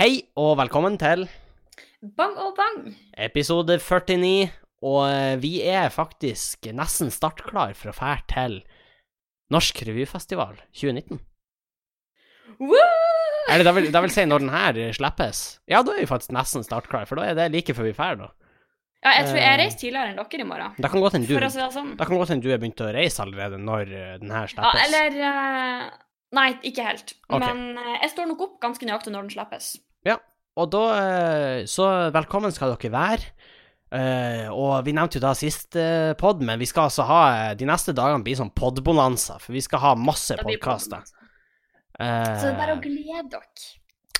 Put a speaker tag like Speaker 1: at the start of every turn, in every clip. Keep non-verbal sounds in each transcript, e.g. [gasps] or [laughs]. Speaker 1: Hei og velkommen til
Speaker 2: Bang og bang!
Speaker 1: episode 49. Og eh, vi er faktisk nesten startklar for å fære til Norsk revyfestival 2019.
Speaker 2: Woo!
Speaker 1: Eller det vil, det vil si når den her slippes. Ja, da er vi faktisk nesten startklar, for da er det like før vi drar, da.
Speaker 2: Ja, jeg tror jeg
Speaker 1: Eh.
Speaker 2: reiser tidligere enn dere i morgen.
Speaker 1: Det kan godt hende du,
Speaker 2: For å si det sånn.
Speaker 1: det kan godt hende du er begynt å reise allerede når eh, den her
Speaker 2: Ja,
Speaker 1: slippes.
Speaker 2: eller eh, Nei, ikke helt.
Speaker 1: Ok.
Speaker 2: Men eh, jeg står nok opp ganske nøyaktig når den slippes.
Speaker 1: Og da eh, Så velkommen skal dere være. Eh, og vi nevnte jo da sist eh, pod, men vi skal altså ha eh, De neste dagene blir sånn podbonanza, for vi skal ha masse
Speaker 2: Da blir det
Speaker 1: podkaster.
Speaker 2: podkast.
Speaker 1: Eh,
Speaker 2: Så det er bare å glede dere.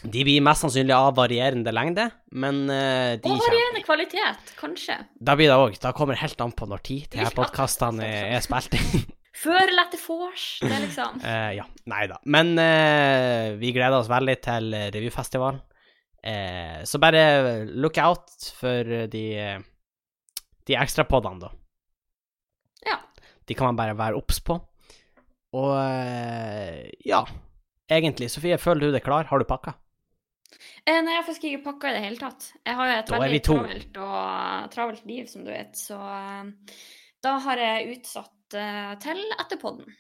Speaker 1: De blir mest sannsynlig av varierende lengde, men eh, de
Speaker 2: Og
Speaker 1: kommer.
Speaker 2: varierende kvalitet, kanskje.
Speaker 1: Da blir det òg. Da kommer helt an på når tid de her
Speaker 2: [laughs] Ja,
Speaker 1: podkastene er, er spilt inn.
Speaker 2: Før eller etter vors. Det er
Speaker 1: [laughs]
Speaker 2: liksom
Speaker 1: Eh, ja. Nei da. Men eh, vi gleder oss veldig til eh, revyfestivalen. Eh, så bare look out for eh, de, eh, de ekstrapodene, da.
Speaker 2: Ja.
Speaker 1: De kan man bare være obs på. Og eh, ja. Egentlig, Sofie, føler du deg klar? Har du pakka?
Speaker 2: Eh, Nei, jeg har faktisk ikke pakka i det hele tatt. Jeg har jo et
Speaker 1: Da er vi
Speaker 2: veldig
Speaker 1: to.
Speaker 2: travelt, og, eh, travelt liv, som du vet, så eh, da har jeg utsatt eh, til etter podden.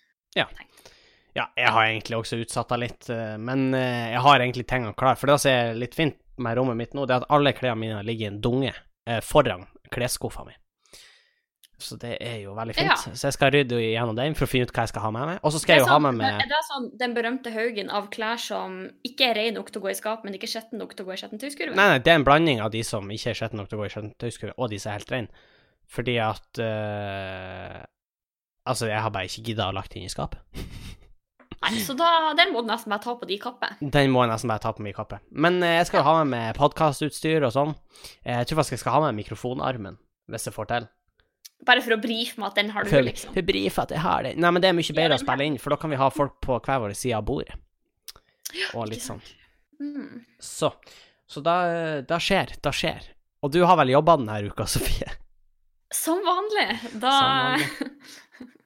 Speaker 1: Ja, jeg har egentlig også utsatt deg litt, eh, men eh, jeg har egentlig tingene klare. For det som er litt fint med rommet mitt nå, det er at alle klærne mine ligger i en dunge eh, foran klesskuffa mi. Så det er jo veldig fint.
Speaker 2: Ja.
Speaker 1: Så jeg skal rydde igjennom den for å finne ut hva jeg skal ha med meg. Og så skal jeg jo ha med meg
Speaker 2: Er det sånn den berømte haugen av klær som ikke er ren nok til å gå i skap, men ikke skitten nok til å gå i skittentøyskurven?
Speaker 1: Nei, nei, det er en blanding av de som ikke er skjetne nok til å gå i skjønntøyskurve, og de som er helt reine. Fordi at eh, Altså, jeg har bare ikke gidda å lagt det inn i skapet.
Speaker 2: Nei, så da, den må du nesten bare ta på de kapper.
Speaker 1: Den må jeg nesten bare ta på meg i kappe. Men eh, jeg skal jo ha med meg podkastutstyr og sånn. Eh, Jeg tror faktisk jeg skal ha med mikrofonarmen, hvis jeg får til.
Speaker 2: Bare for å brife med at den har du,
Speaker 1: For,
Speaker 2: liksom.
Speaker 1: for brief at jeg har det. Nei, men det er mye bedre
Speaker 2: Ja,
Speaker 1: å spille inn, for da kan vi ha folk på hver vår side av bordet. Og litt sånn.
Speaker 2: Mm.
Speaker 1: Så. Så da, da skjer, da skjer. Og du har vel jobba denne uka, [laughs] Sofie?
Speaker 2: Som vanlig. Da
Speaker 1: Som
Speaker 2: [laughs]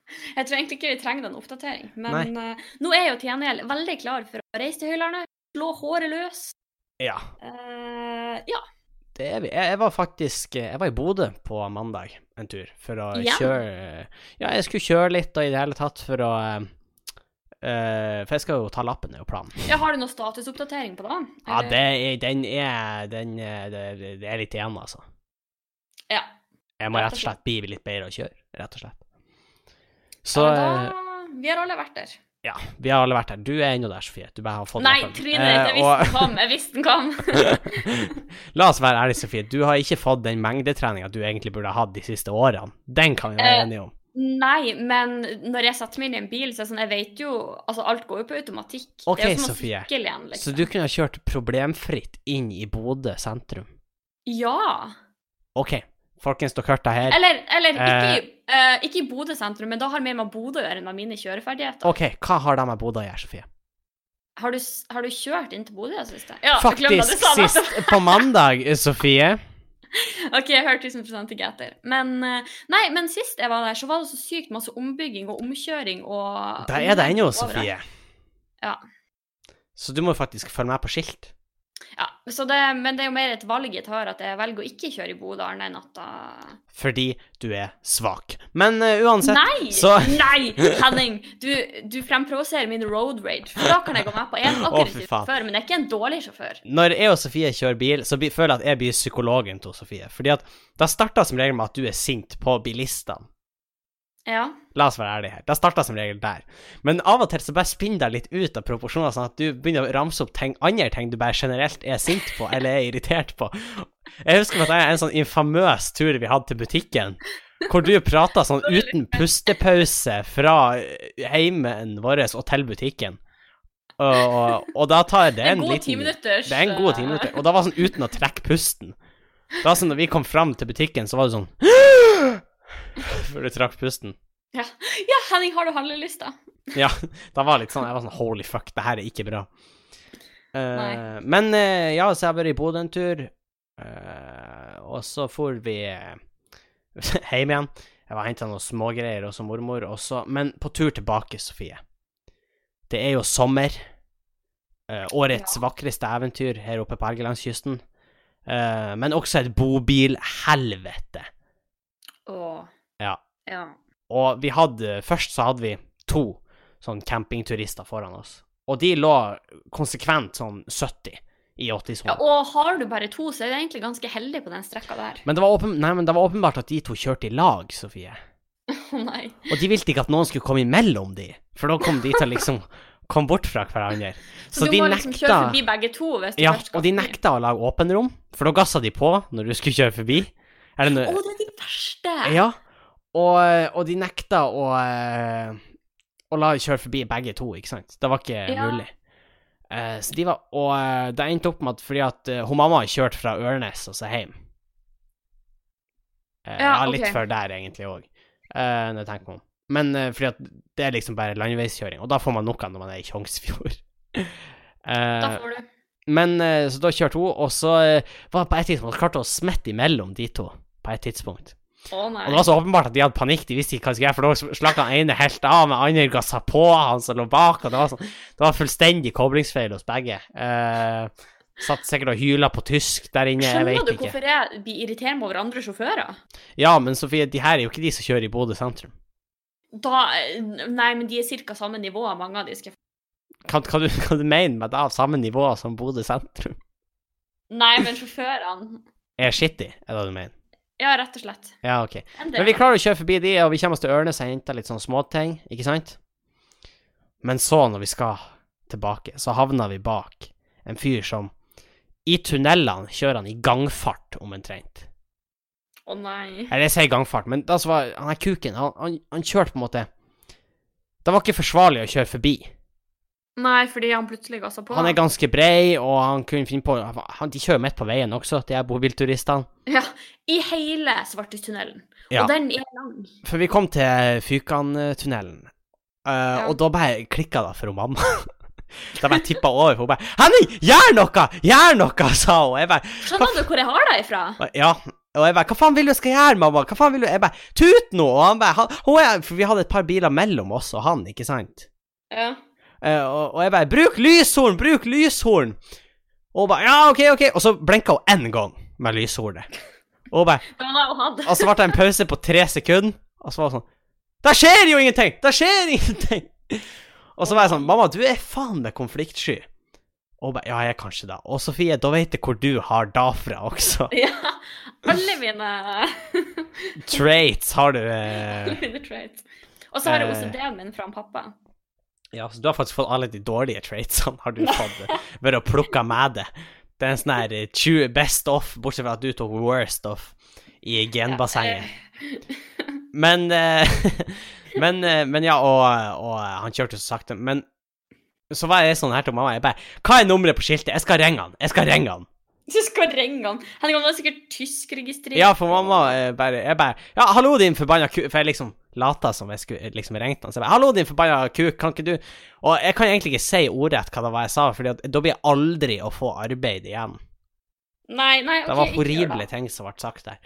Speaker 2: Jeg tror egentlig ikke vi trenger den oppdatering, men
Speaker 1: Nei.
Speaker 2: eh, nå er jeg jo til gjengjeld veldig klar for å reise til Høylandet, slå håret løs.
Speaker 1: Ja.
Speaker 2: Eh, ja.
Speaker 1: Det er vi. Jeg, jeg var faktisk eh, Jeg var i Bodø på mandag en tur for å
Speaker 2: Ja.
Speaker 1: kjøre Ja, jeg skulle kjøre litt og i det hele tatt for å eh, For jeg skal jo ta lappen, det er jo planen.
Speaker 2: ja. Har du noe statusoppdatering på det?
Speaker 1: Ja,
Speaker 2: Eller-
Speaker 1: det er, den er den er, det, det er litt igjen, altså.
Speaker 2: Ja.
Speaker 1: Jeg må
Speaker 2: Rett
Speaker 1: rett
Speaker 2: og
Speaker 1: og slett bli litt bedre å kjøre, rett og slett. Så eh,
Speaker 2: Ja, men da, vi har alle vært der.
Speaker 1: ja, vi har alle vært her. Du er ennå der, Sofie. Du bare har fått
Speaker 2: Nei,
Speaker 1: lappen.
Speaker 2: trynet ditt!
Speaker 1: Eh,
Speaker 2: Jeg visste den kom. Jeg visste den kom.
Speaker 1: [laughs] og- [laughs] La oss være ærlige, Sofie. Du har ikke fått den mengdetreninga du egentlig burde ha hatt de siste årene. Den kan vi være
Speaker 2: Eh,
Speaker 1: enige om.
Speaker 2: Nei, men når jeg setter meg inn i en bil, så er det sånn, jeg vet jo Altså, alt går jo på automatikk.
Speaker 1: Ok,
Speaker 2: det er jo som å
Speaker 1: Sofie.
Speaker 2: sykle igjen, liksom.
Speaker 1: Så du kunne ha kjørt problemfritt inn i Bodø sentrum.
Speaker 2: Ja.
Speaker 1: OK, folkens, dere hørte det her.
Speaker 2: Eller, eller ikke, i- eh, ikke i Bodø sentrum, men da har det mer med Bodø å gjøre enn med mine kjøreferdigheter.
Speaker 1: OK, hva har det med Bodø å gjøre, Sofie?
Speaker 2: Har, du, s- har du kjørt inn til Bodø i det siste? Ja, glem det,
Speaker 1: Faktisk
Speaker 2: det sa [laughs] jeg
Speaker 1: sist på mandag, Sofie.
Speaker 2: OK, jeg hørte 1000 ikke etter. Men eh, nei, men sist jeg var der, så var det så sykt masse ombygging og omkjøring og
Speaker 1: Da er det ennå,
Speaker 2: overalt.
Speaker 1: Sofie.
Speaker 2: Ja.
Speaker 1: Så du må faktisk følge med på skilt.
Speaker 2: Ja, så det, men det er jo mer et valg jeg tar, at jeg velger å ikke kjøre i Bodø annet enn at da
Speaker 1: Fordi du er svak. Men eh, uansett
Speaker 2: Nei!
Speaker 1: så-
Speaker 2: Nei, Henning! Du, du fremprovoserer min road rage. For da kan jeg gå med på en
Speaker 1: Å, fy
Speaker 2: aggressiv
Speaker 1: faen.
Speaker 2: sjåfør, men jeg er ikke en dårlig sjåfør.
Speaker 1: Når jeg og Sofie kjører bil, så blir, føler jeg at jeg blir psykologen til Sofie. Fordi at det starta som regel med at du er sint på bilistene.
Speaker 2: Ja.
Speaker 1: La oss være ærlige her. Det starta som regel der. Men av og til så bare spinner det litt ut av proporsjoner, sånn at du begynner å ramse opp ting, andre ting du bare generelt er sint på eller er irritert på. Jeg husker at det er en sånn infamøs tur vi hadde til butikken, hvor du prata sånn uten pustepause fra heimen vår og til butikken. Og, og, og da tar det en,
Speaker 2: en god
Speaker 1: liten
Speaker 2: timinutters
Speaker 1: det er en god
Speaker 2: eh,
Speaker 1: time minutter, og det var sånn uten å trekke pusten. Det var sånn, når vi kom fram til butikken, så var det sånn [gasps] Før du trakk pusten.
Speaker 2: Ja, Henning, har du handlelyst, da?
Speaker 1: Ja, det var litt sånn, jeg var sånn holy fuck, det her er ikke bra. Eh,
Speaker 2: Nei.
Speaker 1: men eh, ja, så jeg bare i Bodø en tur, eh, og så for vi [laughs] eh, hjem igjen. Jeg var henta noen smågreier hos mormor også, men på tur tilbake, Sofie. Det er jo sommer, Eh, årets vakreste eventyr her oppe på Helgelandskysten. Eh, men også et bobilhelvete.
Speaker 2: Åh.
Speaker 1: Ja.
Speaker 2: ja.
Speaker 1: Og vi hadde Først så hadde vi to sånn campingturister foran oss. Og de lå konsekvent sånn 70 i 80-sonen.
Speaker 2: ja. Og har du bare to, så er du egentlig ganske heldig på den strekka der. [laughs]
Speaker 1: Men det, var åpen, nei, men det var åpenbart at de to kjørte i lag, Sofie.
Speaker 2: Å nei.
Speaker 1: Og de ville ikke at noen skulle komme imellom de, for da kom de til å liksom komme bort fra hverandre.
Speaker 2: Så, du må liksom kjøre forbi begge to hvis du
Speaker 1: Ja,
Speaker 2: først skal
Speaker 1: og de
Speaker 2: forbi.
Speaker 1: nekta å lage åpenrom, for da gassa de på når du skulle kjøre forbi. Er det
Speaker 2: Å,
Speaker 1: noe?
Speaker 2: det er de verste!
Speaker 1: [laughs] Ja. Og, og de nekta å, eh, å la kjøre forbi begge to, ikke sant? Det var ikke
Speaker 2: Ja.
Speaker 1: mulig. Eh, så de var, og eh, det endte opp med at fordi at eh, hun mamma kjørte fra Ørnes og så hjem. Eh, ja,
Speaker 2: Ja,
Speaker 1: litt
Speaker 2: ok.
Speaker 1: før der egentlig òg, når jeg tenker meg om. Men eh, fordi at det er liksom bare landeveiskjøring, og da får man noe når man er i Tjongsfjord. [laughs]
Speaker 2: Da
Speaker 1: Eh,
Speaker 2: får du
Speaker 1: men eh, så da kjørte hun, og så eh, var det på et tidspunkt klarte hun å smette imellom de to. På et tidspunkt.
Speaker 2: Å
Speaker 1: Og
Speaker 2: nei.
Speaker 1: det var så åpenbart at de hadde panikk, de visste ikke hva de skulle gjøre, for da slakk han ene helt av, men andre ga seg på han som lå bak, og det var sånn Det var fullstendig koblingsfeil hos begge. Eh, satt sikkert og hyla på tysk der inne, jeg
Speaker 2: Skjønner
Speaker 1: vet
Speaker 2: du
Speaker 1: ikke.
Speaker 2: hvorfor jeg blir irriterende over andre sjåfører?
Speaker 1: Ja, men Sofie, de her er jo ikke de som kjører i Bodø sentrum.
Speaker 2: Da eh, Nei, men de er ca. samme nivå, mange av de skal
Speaker 1: Hva, hva, du, hva du mener med det av samme nivå som Bodø sentrum?
Speaker 2: Nei, men sjåførene
Speaker 1: Er shitty, er det du mener?
Speaker 2: Ja, rett og slett.
Speaker 1: Ja, OK.
Speaker 2: En del
Speaker 1: Men vi
Speaker 2: av dem.
Speaker 1: klarer å kjøre forbi de, og vi kommer oss til Ørnes og henter litt sånn småting, ikke sant? Men så, når vi skal tilbake, så havner vi bak en fyr som I tunnelene kjører han i gangfart, omtrent.
Speaker 2: Å nei.
Speaker 1: Eller jeg sier gangfart, men da så var han her kuken han, han, han kjørte på en måte Det var ikke forsvarlig å kjøre forbi.
Speaker 2: Nei, fordi han plutselig gassa på.
Speaker 1: Han er ganske brei, og han kunne finne på han, De kjører midt på veien også, de her bobilturistene.
Speaker 2: Ja, I hele Svartistunnelen.
Speaker 1: Ja.
Speaker 2: Og den er lang.
Speaker 1: For vi kom til Fykantunnelen, eh,
Speaker 2: Ja.
Speaker 1: og da bare klikka det for hun mamma. [laughs] da bare tippa over for hun bare 'Henning, gjør noe! Gjør noe!' sa hun. Jeg bare
Speaker 2: Skjønner du hvor jeg har deg ifra?
Speaker 1: Ja. Og jeg bare 'Hva faen vil du jeg skal gjøre, mamma?' Hva faen vil du? Jeg bare 'Tut nå!' Og han bare han, hun er, For vi hadde et par biler mellom oss og han, ikke sant?
Speaker 2: Ja.
Speaker 1: Eh, og, og jeg bare 'Bruk lyshorn! Bruk lyshorn!' Og hun bare 'Ja, OK, OK.' Og så blinka hun én gang med lyshornet. Og hun bare
Speaker 2: Det var det hun hadde.
Speaker 1: og så ble det en pause på tre sekunder, og så var det sånn Det skjer jo ingenting! Det skjer [laughs] ingenting! Og så var jeg sånn Mamma, du er faen meg konfliktsky. Og hun ba, ja, jeg er kanskje det. Og Sofie, da vet jeg hvor du har da fra
Speaker 2: [laughs]
Speaker 1: også.
Speaker 2: [laughs] Ja. Alle mine
Speaker 1: [laughs] Traits har du eh.
Speaker 2: Alle mine traits. Og så har jeg
Speaker 1: Eh.
Speaker 2: OCD-en min fra han pappa.
Speaker 1: Ja, så du har faktisk fått alle de dårlige traitsene, har du fått eh, ved å plukke med det. Det er en sånn her eh, 20 best off, bortsett fra at du tok worst off i genbassenget.
Speaker 2: eh.
Speaker 1: Men eh, [laughs] men, eh, men ja, og, og han kjørte så sakte. Men så var jeg sånn her til mamma. Jeg bare 'Hva er nummeret på skiltet? Jeg skal ringe han.' Jeg skal ringe han.
Speaker 2: [laughs] Så skal ringe han. Han kan være sikkert tyskregistrert.
Speaker 1: Ja, for mamma eh, bare Jeg bare 'Ja, hallo, din forbanna ku...' For jeg liksom lata som jeg skulle liksom ringt han. Så jeg bare 'Hallo, din forbanna kuk, kan ikke du Og jeg kan egentlig ikke si ordrett hva det var jeg sa, for da blir jeg aldri å få arbeid igjen.
Speaker 2: Nei, nei, ok,
Speaker 1: Det var
Speaker 2: ikke gjør
Speaker 1: horrible
Speaker 2: det.
Speaker 1: ting som ble sagt der.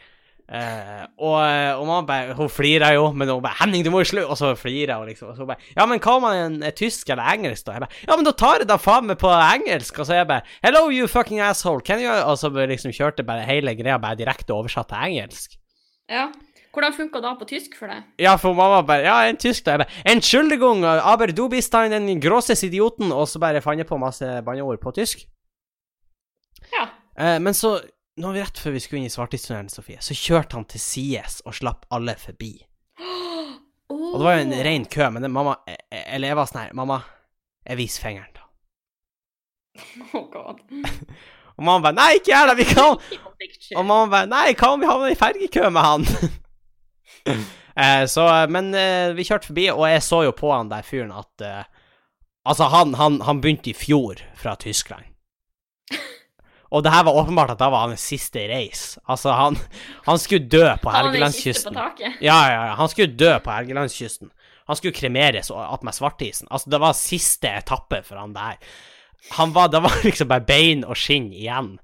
Speaker 1: Eh, og, og mamma bare, hun flirer jo, men hun bare 'Henning, du må jo slutte!' Og så flirer hun, liksom. Og så hun bare 'Ja, men hva om han er eh, tysk eller engelsk, da?' Jeg bare 'Ja, men da tar jeg da faen meg på engelsk!' Og så jeg bare 'Hello, you fucking asshole, can you Og så bare liksom kjørte bare hele greia bare direkte oversatt til engelsk.
Speaker 2: Ja. Hvordan funka da på tysk for deg?
Speaker 1: Ja, for mamma bare 'Ja, en tysk', da. Jeg bare 'Entschuldigung, aber du bist den grosses idioten', og så bare fant jeg på masse banneord på tysk.
Speaker 2: Ja.
Speaker 1: Eh, men så, nå rett før vi skulle inn i Svartistunnelen, Sofie, så kjørte han til sides og slapp alle forbi. Og det var jo en ren kø, men det, mamma eh, Eller jeg var sånn her, mamma, jeg viser fingeren, da.
Speaker 2: Oh god.
Speaker 1: Og mamma bare, nei, ikke gjør det, vi kan [laughs] Og
Speaker 2: Om...
Speaker 1: mamma bare, nei, hva om vi havner i fergekø med han? [laughs] eh, så, men eh, vi kjørte forbi, og jeg så jo på han der fyren at eh, Altså, han, han, han begynte i fjor fra Tyskland. Og det her var åpenbart at da var hans siste reis. Altså, han, han skulle dø på
Speaker 2: Han er den siste på
Speaker 1: Helgelandskysten.
Speaker 2: taket.
Speaker 1: [laughs] Ja, ja, ja. Han skulle dø på Helgelandskysten. Han skulle kremeres og- att med svartisen. Altså, det var siste etappe for han der. Han var, [laughs] det var liksom bare bein og skinn igjen.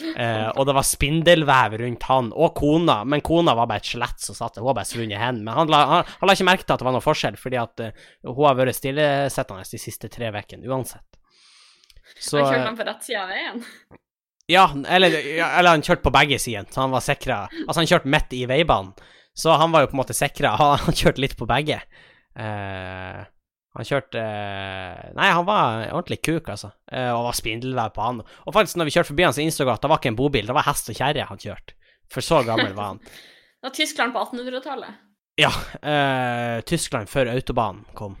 Speaker 1: Eh, og det var spindelvev rundt han, og kona, men kona var bare et skjelett som satt der. Hun var bare svunnet hen. Men han la, han, han la ikke merke til at det var noe forskjell, fordi at eh, hun har vært stillesittende de siste tre ukene uansett. Så
Speaker 2: han kjørte han på rett side av veien.
Speaker 1: Ja, eller, ja, eller han kjørte på begge sidene, så han var sikra Altså, han kjørte midt i veibanen, så han var jo på en måte sikra. Han, [laughs] han kjørte litt på begge. Eh, han kjørte eh, Nei, han var en ordentlig kuk, altså. Eh, og var spindelvev på han. Og faktisk, når vi kjørte forbi han, så innså jeg at det var ikke en bobil, det var hest og kjerre han kjørte. For så gammel var han.
Speaker 2: Det var Tyskland på 1800-tallet.
Speaker 1: Eh, Tyskland før autobanen kom.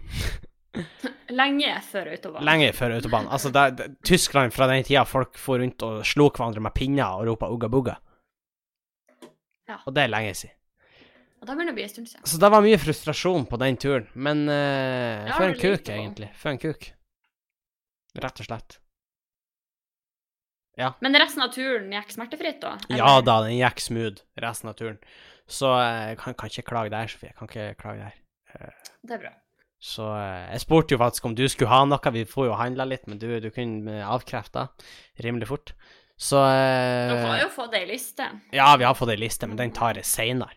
Speaker 2: Lenge før autobahn.
Speaker 1: Lenge før autobanen. Altså, det, det, Tyskland fra den tida folk for rundt og slo hverandre med pinner og ropa ugga bugga.
Speaker 2: Ja.
Speaker 1: Og det er lenge siden.
Speaker 2: Og da begynner det å bli en stund siden.
Speaker 1: Så det var mye frustrasjon på den turen, men eh,
Speaker 2: Ja,
Speaker 1: for en
Speaker 2: det liker
Speaker 1: kuk,
Speaker 2: man.
Speaker 1: egentlig. For en kuk. Rett og slett.
Speaker 2: Men resten av turen gikk smertefritt, da? eller?
Speaker 1: Ja da, den gikk smooth, resten av turen. Så eh, jeg kan, kan ikke klage der, Sofie. Jeg kan ikke klage der.
Speaker 2: Det er bra.
Speaker 1: Så eh, jeg spurte jo faktisk om du skulle ha noe, vi får jo handla litt, men du, du kunne eh, avkrefte det rimelig fort. Så eh,
Speaker 2: Dere har jo fått ei
Speaker 1: [laughs]
Speaker 2: liste.
Speaker 1: Ja, vi har fått ei liste, men den tar jeg seinere,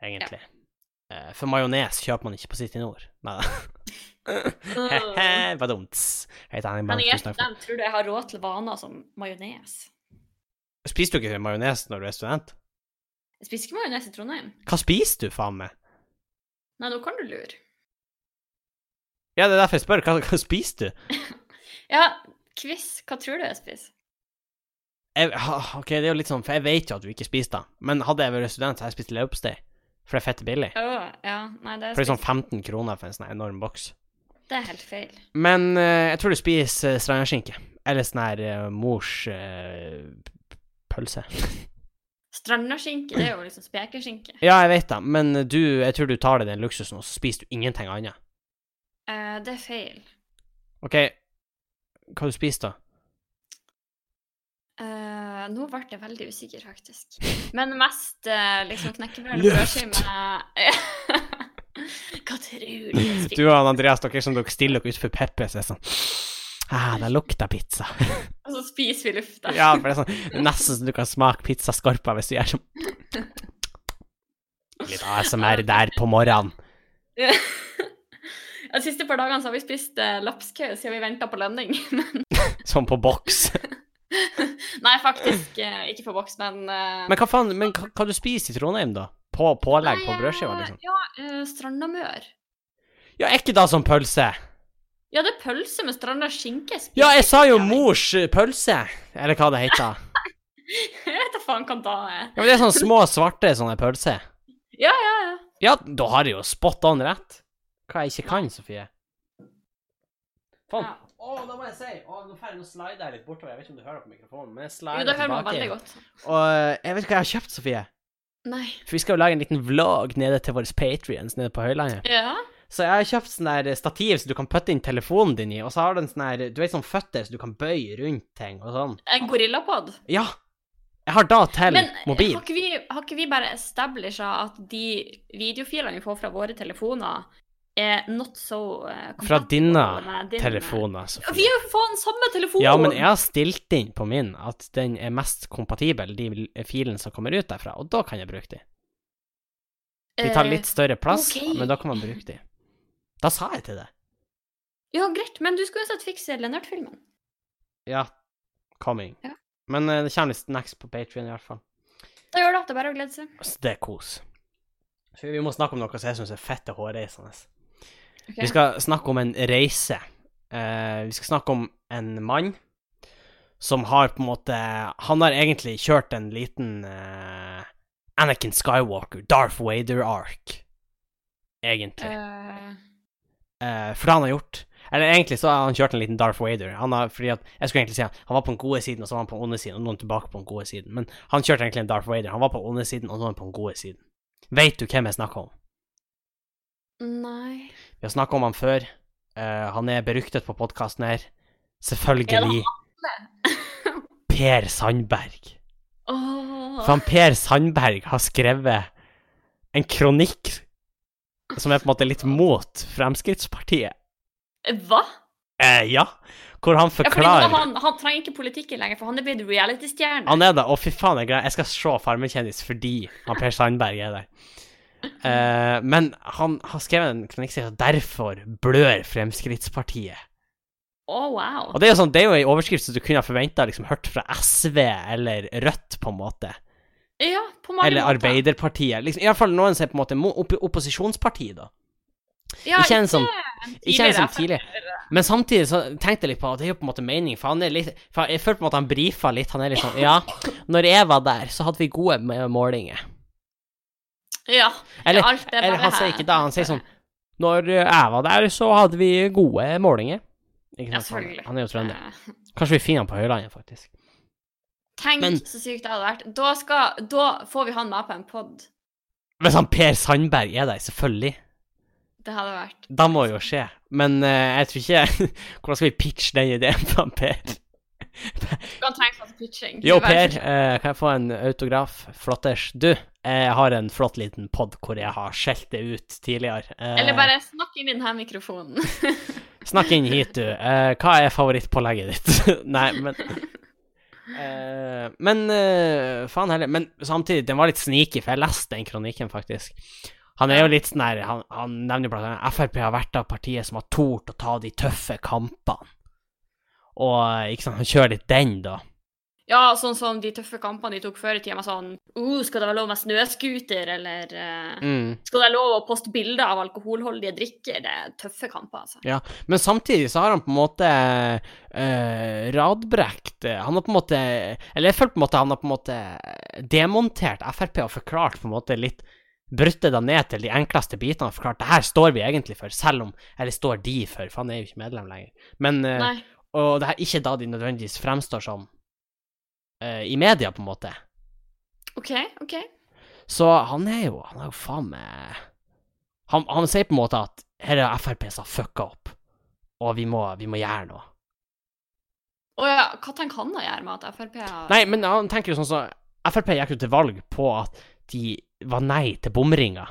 Speaker 1: egentlig. Eh, For majones kjøper man ikke på City Nord. Nei da.
Speaker 2: Men
Speaker 1: He-he, [laughs] badumts. Hei, Daniel Bank,
Speaker 2: jeg
Speaker 1: tusen takk for-
Speaker 2: er student, tror du jeg har råd til vaner som majones?
Speaker 1: Spiser du ikke majones når du er student?
Speaker 2: Jeg spiser ikke majones i Trondheim.
Speaker 1: Hva spiser du, faen meg?
Speaker 2: Nei, nå kan du lure.
Speaker 1: Ja, det er derfor jeg spør. Hva, hva spiser du?
Speaker 2: Ja, quiz. Hva tror du jeg spiser?
Speaker 1: Jeg, ha, ok, det er jo litt sånn, for jeg vet jo at du ikke spiser det, men hadde jeg vært student, så hadde jeg spist leverpostei. For det er fett billig.
Speaker 2: Å, ja. Nei, det er,
Speaker 1: For det er sånn 15 kroner for en sånn enorm boks.
Speaker 2: det er helt feil.
Speaker 1: Men eh, jeg tror du spiser uh, strandaskinke. Eller sånn her eh, mors eh, pølse. [laughs]
Speaker 2: Strandaskinke, det er jo liksom spekeskinke.
Speaker 1: Ja, jeg vet det, men du, jeg tror du tar deg den luksusen, og så spiser du ingenting annet.
Speaker 2: Eh, det er feil.
Speaker 1: OK, hva du spiser da?
Speaker 2: Eh, nå ble jeg veldig usikker,
Speaker 1: [laughs]
Speaker 2: faktisk. Men mest eh, liksom knekkebrød og
Speaker 1: Løft!
Speaker 2: brødskive med [laughs] Hva tror du jeg
Speaker 1: Du
Speaker 2: spiser?
Speaker 1: og han Andreas, dere som dere stiller dere utenfor Peppes, er sånn Ah, det lukter pizza. [laughs]
Speaker 2: Og så spiser vi Altså, lufta.
Speaker 1: Ja, for det er sånn nesten så du kan smake pizzaskorpa hvis du gjør sånn. Litt ASMR der på morgenen.
Speaker 2: [laughs] De siste par dagene så har vi spist eh, lapskaus siden vi venta på lønning. [laughs]
Speaker 1: Sånn på boks.
Speaker 2: Nei, faktisk eh, ikke på boks, men eh,
Speaker 1: Men hva faen, men hva, hva du spiser i Trondheim, da? På pålegg på
Speaker 2: nei,
Speaker 1: brødskiva,
Speaker 2: eh,
Speaker 1: liksom?
Speaker 2: Ja, eh, strandamør.
Speaker 1: Ja, er ikke da sånn pølse?
Speaker 2: Ja, det er pølse med stranda skinke. spiser
Speaker 1: Ja, jeg sa jo
Speaker 2: ikke jeg.
Speaker 1: mors eh, pølse, eller hva det heter.
Speaker 2: [laughs] Jeg vet da faen hva da er.
Speaker 1: Ja, men det er sånn små, svarte sånne pølser.
Speaker 2: Ja, ja, ja.
Speaker 1: Ja, da har jeg jo spot on rett. Hva jeg ikke kan, Sofie. Faen.
Speaker 2: Ja.
Speaker 1: Å, da må jeg si Å, Nå får jeg nå slide jeg litt bortover. Jeg vet ikke om du hører på mikrofonen, men jeg
Speaker 2: Jo,
Speaker 1: slider
Speaker 2: det hører man veldig
Speaker 1: tilbake.
Speaker 2: godt.
Speaker 1: Og eh, jeg vet ikke hva jeg har kjøpt, Sofie.
Speaker 2: Nei.
Speaker 1: For vi skal jo lage en liten vlog nede til våre patrions nede på Høylandet.
Speaker 2: Ja.
Speaker 1: Så jeg har kjøpt sånn der stativ som du kan putte inn telefonen din i, og så har du en sånn her Du vet sånn føtter som du kan bøye rundt ting og sånn.
Speaker 2: En gorillapod.
Speaker 1: Ja. Jeg har da til
Speaker 2: Men eh,
Speaker 1: mobil.
Speaker 2: har ikke, vi, har ikke vi bare establisha at de videofilene vi får fra våre telefoner, er not so eh,
Speaker 1: Fra
Speaker 2: compatible
Speaker 1: dine
Speaker 2: med din-
Speaker 1: telefoner,
Speaker 2: Ja,
Speaker 1: Sofie.
Speaker 2: Vi har jo faen samme telefon!
Speaker 1: altså. Ja, men jeg har stilt inn på min at den er mest kompatibel, de filene som kommer ut derfra, og da kan jeg bruke de. De tar
Speaker 2: Eh,
Speaker 1: litt større plass,
Speaker 2: ok.
Speaker 1: men da kan man bruke de. Da sa jeg til det.
Speaker 2: Eh, Ja, greit, men du skulle uansett fikse Lennart-filmen.
Speaker 1: Ja, coming.
Speaker 2: Ja.
Speaker 1: Men eh, det kommer litt snacks på Patrion i hvert fall.
Speaker 2: Da gjør det at det er bare å glede seg.
Speaker 1: Så Altså, det er kos. For vi må snakke om noe som jeg syns er fette hårreisende.
Speaker 2: Ok.
Speaker 1: Vi skal snakke om en reise. Eh, vi skal snakke om en mann som har på en måte Han har egentlig kjørt en liten eh, Anakin Skywalker, Darth Vader-ark, egentlig.
Speaker 2: Eh,
Speaker 1: Eh, for det han har gjort Eller egentlig så har han kjørt en liten Darth Vader. Han har, fordi at, jeg skulle egentlig si at han var på den gode siden, og så var han på den onde siden, og nå er han tilbake på den gode siden. Men han kjørte egentlig en Darth Vader. Han var på den onde siden, og nå er han på den gode siden. Veit du hvem jeg snakker om?
Speaker 2: nei
Speaker 1: Vi har snakka om han før. Eh, han er beryktet på podkasten her. Selvfølgelig.
Speaker 2: [laughs]
Speaker 1: per Sandberg.
Speaker 2: Åh.
Speaker 1: For han Per Sandberg har skrevet en kronikk som er på en måte litt mot Fremskrittspartiet.
Speaker 2: Hva?
Speaker 1: Eh, ja. Hvor han
Speaker 2: Ja, fordi nå er
Speaker 1: forklarer
Speaker 2: han, han trenger ikke politikken lenger, for han er blitt reality-stjerne.
Speaker 1: Han er det, og fy faen, jeg, gleder- jeg skal se Farmen-kjendis fordi han Per Sandberg er der. Eh, men han har skrevet en kronikk som heter 'Derfor blør Fremskrittspartiet'.
Speaker 2: Å, wow.
Speaker 1: Og det er jo sånn, det er jo ei overskrift som du kunne ha forventa liksom, hørt fra SV eller Rødt, på en måte.
Speaker 2: Ja, på mange
Speaker 1: Eller
Speaker 2: måter.
Speaker 1: Arbeiderpartiet. Liksom, Iallfall noen som er på en måte mo- opp, opposisjonsparti, da.
Speaker 2: Ja,
Speaker 1: ikke en sånn- Ikke en
Speaker 2: tidligere
Speaker 1: som tidlig. Men samtidig så tenkte jeg litt på at det er jo på en måte mening, for han er litt for Jeg følte på en måte han brifa litt. Han er litt sånn Ja, når jeg var der, så hadde vi gode me- målinger.
Speaker 2: Ja.
Speaker 1: Eller-
Speaker 2: alt det er
Speaker 1: Eller
Speaker 2: bare
Speaker 1: han sier
Speaker 2: her.
Speaker 1: ikke det, han sier sånn Når jeg var der, så hadde vi gode målinger. Ikke
Speaker 2: Ja,
Speaker 1: sant? Han-
Speaker 2: selvfølgelig.
Speaker 1: Han er jo trønder.
Speaker 2: Eh,
Speaker 1: Kanskje vi finner han på Høylandet, faktisk.
Speaker 2: Tenk
Speaker 1: Men-
Speaker 2: så sykt det hadde vært. Da, skal, da får vi han med på en pod.
Speaker 1: Hvis han Per Sandberg er der, selvfølgelig.
Speaker 2: Det hadde vært
Speaker 1: Da må jo skje. Men eh, jeg tror ikke [laughs] Hvordan skal vi pitche den ideen for han Per?
Speaker 2: Kan trenge sånn pitching.
Speaker 1: Jo,
Speaker 2: Det hadde vært-
Speaker 1: Per, eh, kan jeg få en autograf? Flotters. Du, jeg har en flott liten pod hvor jeg har skjelt det ut tidligere. Eh,
Speaker 2: Eller bare snakk inn i denne mikrofonen. [laughs]
Speaker 1: Snakk inn hit, du. Eh, hva er favorittpålegget ditt? [laughs] Nei, men Eh, Men eh, faen heller. Men samtidig, den var litt sneaky, for jeg leste den kronikken, faktisk. Han er jo litt sånn her Han, han nevner jo blant annet Frp har vært av partiet som har tort å ta de tøffe kampene. Og eh, ikke sant, han kjører litt den, da.
Speaker 2: Ja, sånn som de tøffe kampene de tok før i tida, med sånn uh, Skal det være lov med snøscooter, eller eh,
Speaker 1: Mm.
Speaker 2: Skal det være lov å poste bilder av alkoholholdige drikker? Det er tøffe kamper, altså.
Speaker 1: Men samtidig så har han på en måte eh, radbrekt eh, Han har på en måte Eller jeg føler på en måte han har på en måte eh, demontert Frp og forklart på en måte litt Brutt det da ned til de enkleste bitene og forklart det her står vi egentlig for, selv om Eller står de for, for han er jo ikke medlem lenger. Men eh,
Speaker 2: Nei.
Speaker 1: Og det er ikke da de nødvendigvis fremstår som eh, i media, på en måte.
Speaker 2: OK, OK.
Speaker 1: Så han er jo Han er jo faen meg han, han sier på en måte at her er Frp som har fucka opp, og vi må, vi må gjøre noe.
Speaker 2: Å ja, hva tenker han å gjøre med at Frp har
Speaker 1: Nei, men han tenker jo sånn som Frp gikk jo til valg på at de var nei til bomringer.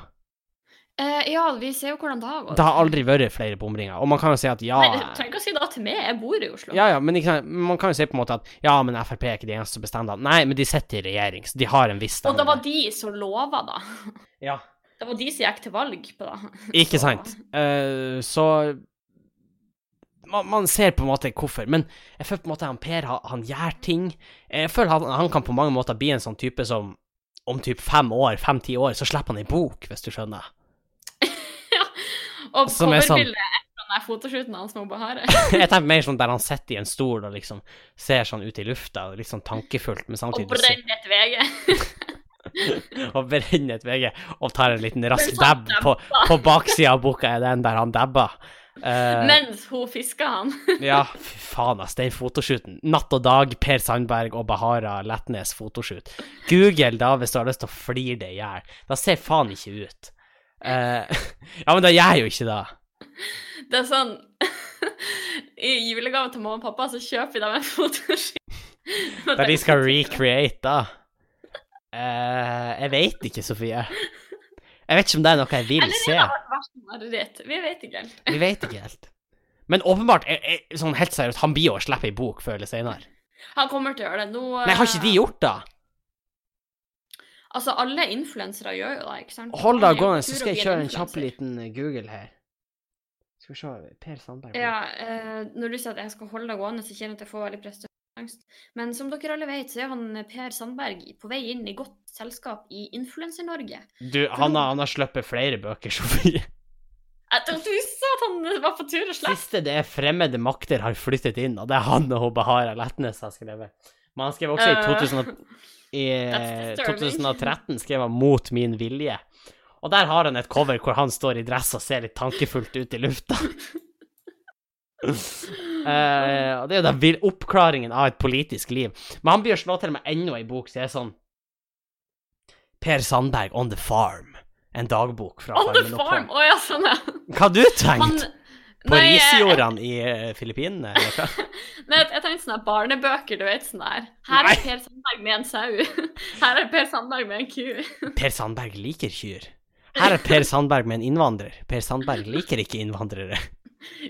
Speaker 2: Eh, ja, vi ser jo hvordan det har gått.
Speaker 1: Det har aldri vært flere bomringer. Og man kan jo si at ja
Speaker 2: Nei, du trenger ikke å si det til meg, jeg bor i Oslo.
Speaker 1: Ja, ja, men ikke sant? man kan jo si på en måte at ja, men Frp er ikke de eneste som bestemmer. Nei, men de sitter i regjering, så de har en viss
Speaker 2: Og det var
Speaker 1: standard.
Speaker 2: de som lova, da.
Speaker 1: Ja,
Speaker 2: Det var de som gikk til valg på det.
Speaker 1: ikke sant. Eh, så man, man ser på en måte hvorfor. Men jeg føler på en måte han Per han, han gjør ting. Jeg føler han, han kan på mange måter bli en sånn type som om typ fem år, fem-ti år, så slipper han ei bok, hvis du skjønner.
Speaker 2: Og
Speaker 1: Som er sånn-
Speaker 2: coverbildet etter den der fotoshooten hans med Bahareh.
Speaker 1: [laughs] Jeg tenker mer sånn der han sitter i en stol og liksom ser sånn ut i lufta, og litt sånn tankefullt, men
Speaker 2: Og
Speaker 1: samtidig
Speaker 2: brenner et VG.
Speaker 1: og brenner et VG og tar en liten rask
Speaker 2: Mens han
Speaker 1: dab på, på baksida av boka, er den der han dabba. Eh,
Speaker 2: [laughs] Mens hun fisker han.
Speaker 1: ja, fy faen, ass, den fotoshooten. Natt og dag, Per Sandberg og Bahara Letnes fotoshoot. Google da hvis du har lyst til å flire det i hjel. Da ser faen ikke ut. Eh, [laughs] ja, men da gjør jeg jo ikke det.
Speaker 2: Det er sånn [laughs] I julegave til mamma og pappa så kjøper vi dem en fotoshoot.
Speaker 1: Da de skal recreate, da. Eh, jeg veit ikke, Sofie. Jeg vet ikke om det er noe jeg vil
Speaker 2: Eller det
Speaker 1: se.
Speaker 2: har vært verst mareritt. Vi vet ikke helt.
Speaker 1: Vi vet ikke helt. Men åpenbart, jeg, jeg, sånn helt seriøst, han blir jo å slippe ei bok før eller seinere.
Speaker 2: Han kommer til å gjøre det. Nå
Speaker 1: Nei, har ikke de gjort det?
Speaker 2: Altså, alle influensere gjør jo det, ikke sant?
Speaker 1: Hold da
Speaker 2: Han er jo
Speaker 1: gående,
Speaker 2: tur
Speaker 1: så
Speaker 2: å
Speaker 1: skal jeg
Speaker 2: bli
Speaker 1: kjøre en kjapp
Speaker 2: influencer.
Speaker 1: liten eh, Google her. Skal vi se Per Sandberg.
Speaker 2: Ja, eh, når du sier at jeg skal holde det gående, så kjenner jeg at jeg får veldig prestasjonsangst. Men som dere alle vet, så er han eh, Per Sandberg på vei inn i godt selskap i Influencer-Norge.
Speaker 1: Du, han har, han har sluppet flere bøker, Sofie.
Speaker 2: Jeg trodde du sa at han var på tur og slapp.
Speaker 1: Siste det er 'Fremmede makter har flyttet inn', og det er han og Bahara Letnes har skrevet. Men han skrev også i,
Speaker 2: Eh.
Speaker 1: 2000,
Speaker 2: [laughs]
Speaker 1: og- i
Speaker 2: That's disturbing.
Speaker 1: 2013 skrev han 'Mot min vilje'. Og der har han et cover hvor han står i dress og ser litt tankefullt ut i
Speaker 2: [laughs]
Speaker 1: lufta. Eh, og det er jo da vil- oppklaringen av et politisk liv. Men han blir å slå til med enda ei bok som er sånn Per Sandberg on the farm. En dagbok fra
Speaker 2: On the
Speaker 1: farmen oppå.
Speaker 2: farm! Å ja, sånn, ja.
Speaker 1: Hva har du
Speaker 2: Han
Speaker 1: tenkt? På
Speaker 2: Nei, jeg-
Speaker 1: risjordene i eh, Filippinene? eller
Speaker 2: [laughs]
Speaker 1: hva?
Speaker 2: Nei, jeg tenkte sånne barnebøker, du vet, sånn der. Her
Speaker 1: Nei.
Speaker 2: er Per Sandberg med en sau. [laughs] Her er Per Sandberg med en ku. [laughs]
Speaker 1: Per Sandberg liker kyr. Her er Per Sandberg med en innvandrer. Per Sandberg liker ikke innvandrere.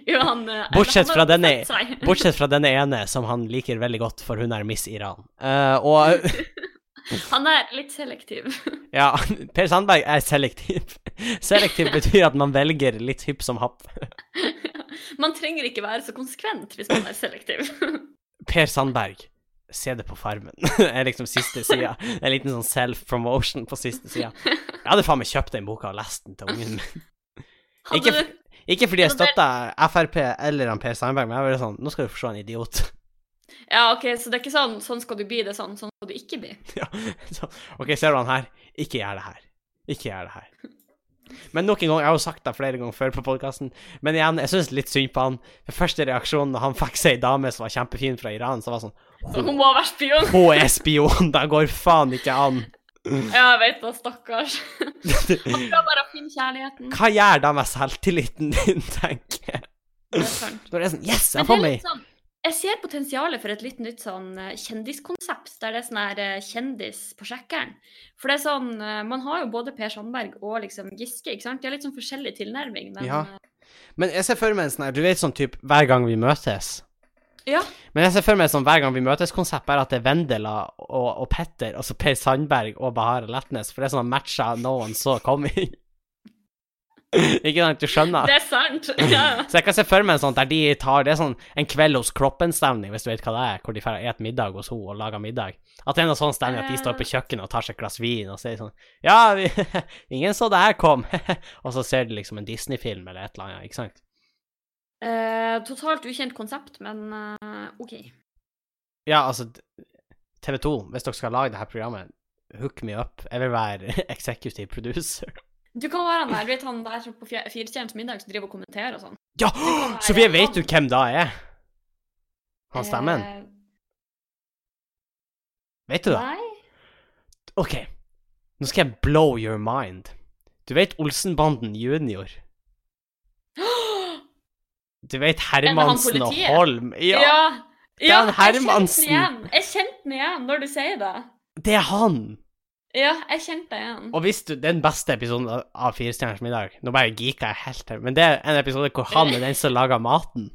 Speaker 2: Jo, han, eh,
Speaker 1: Bortsett
Speaker 2: han
Speaker 1: fra
Speaker 2: har [laughs]
Speaker 1: denne-
Speaker 2: sett seg.
Speaker 1: Bortsett fra denne ene, som han liker veldig godt, for hun er Miss Iran. Eh, og
Speaker 2: [laughs] Han er litt selektiv.
Speaker 1: ja, Per Sandberg er selektiv. Selektiv betyr at man velger litt hypp som happ.
Speaker 2: Man trenger ikke være så konsekvent hvis man er selektiv. [laughs]
Speaker 1: Per Sandberg, se det på Farmen. [laughs] Det er liksom siste sida. Det er En liten sånn self-promotion på siste sida. Jeg hadde faen meg kjøpt den boka og lest den til ungen min.
Speaker 2: Hadde
Speaker 1: Ikke-
Speaker 2: du-
Speaker 1: Ikke fordi jeg
Speaker 2: Altså, det-
Speaker 1: støtter Frp eller han Per Sandberg, men jeg var bare sånn Nå skal du forstå en idiot. [laughs]
Speaker 2: Ja, OK, så det er ikke sånn 'sånn skal du bli', det er sånn 'sånn skal du ikke bli'.
Speaker 1: Ja. Så, OK, ser du han her? Ikke gjør det her. Ikke gjør det her. Men nok en gang, jeg har jo sagt det flere ganger før på podkasten, men igjen, jeg syns litt synd på han. Den første reaksjonen da han fikk seg ei dame som var kjempefin fra Iran, så var det
Speaker 2: Så
Speaker 1: sånn
Speaker 2: [laughs] hun må være spion.
Speaker 1: Hun er spion! Det går faen ikke an!
Speaker 2: Ja, jeg vet det,
Speaker 1: [laughs]
Speaker 2: stakkars. Han prøver bare å finne kjærligheten.
Speaker 1: Hva gjør det med selvtilliten din, [laughs] tenker jeg.
Speaker 2: Det er sant.
Speaker 1: Når det er sånn Yes, jeg har
Speaker 2: Men
Speaker 1: fått
Speaker 2: det er
Speaker 1: meg!
Speaker 2: litt sånn, jeg ser potensialet for et litt nytt sånn eh, kjendiskonsept, der det er sånn her eh, kjendis på sjekkeren. For det er sånn, eh, man har jo både Per Sandberg og liksom Giske, ikke sant? De har litt sånn forskjellig tilnærming. Men,
Speaker 1: Ja.
Speaker 2: eh,
Speaker 1: Men jeg ser for meg en sånn her, du vet sånn type hver gang vi møtes.
Speaker 2: Ja.
Speaker 1: Men jeg ser for meg sånn hver gang vi møtes-konsept, bare at det er Vendela og, og Petter, altså Per Sandberg og Bahare Letnes, for det er sånn matcha no one saw coming. [laughs] Ikke sant, du skjønner?
Speaker 2: Det er sant. [laughs] Ja.
Speaker 1: Så jeg kan se for meg en sånn der de tar Det er sånn en kveld hos Kroppen-stemning, hvis du vet hva det er, hvor de drar og spiser middag hos henne og lager middag. At det er noe sånn stemning at de står på kjøkkenet og tar seg et glass vin og sier sånn Ja, vi, [laughs] ingen så det her kom. [laughs] og så ser de liksom en Disney-film eller et eller annet, ikke sant?
Speaker 2: Eh, totalt ukjent konsept, men eh, OK.
Speaker 1: Ja, altså TV 2, hvis dere skal lage det her programmet, hook me up. Jeg vil være [laughs] executive producer.
Speaker 2: Du kan være han der, du vet han der som på fjer- Firestjerners middag som driver og kommenterer og sånn. [gasps]
Speaker 1: Ja!
Speaker 2: være
Speaker 1: Sofie, vet du
Speaker 2: han.
Speaker 1: hvem da er? Han stemmen?
Speaker 2: Eh,
Speaker 1: Vet du det?
Speaker 2: Nei.
Speaker 1: OK, nå skal jeg blow your mind. Du vet Olsenbanden
Speaker 2: [gasps]
Speaker 1: junior? Du vet
Speaker 2: han
Speaker 1: Hermansen og
Speaker 2: politiet?
Speaker 1: Holm?
Speaker 2: Ja.
Speaker 1: Ja, er
Speaker 2: ja.
Speaker 1: han
Speaker 2: jeg kjente den
Speaker 1: Hermansen.
Speaker 2: igjen. Jeg kjente den igjen når du sier det.
Speaker 1: det er han!
Speaker 2: Ja, jeg kjente den igjen.
Speaker 1: Og hvis du, Den beste episoden av- av Firestjerners middag Nå bare geeker jeg helt her, men det er en episode hvor han er den som lager maten.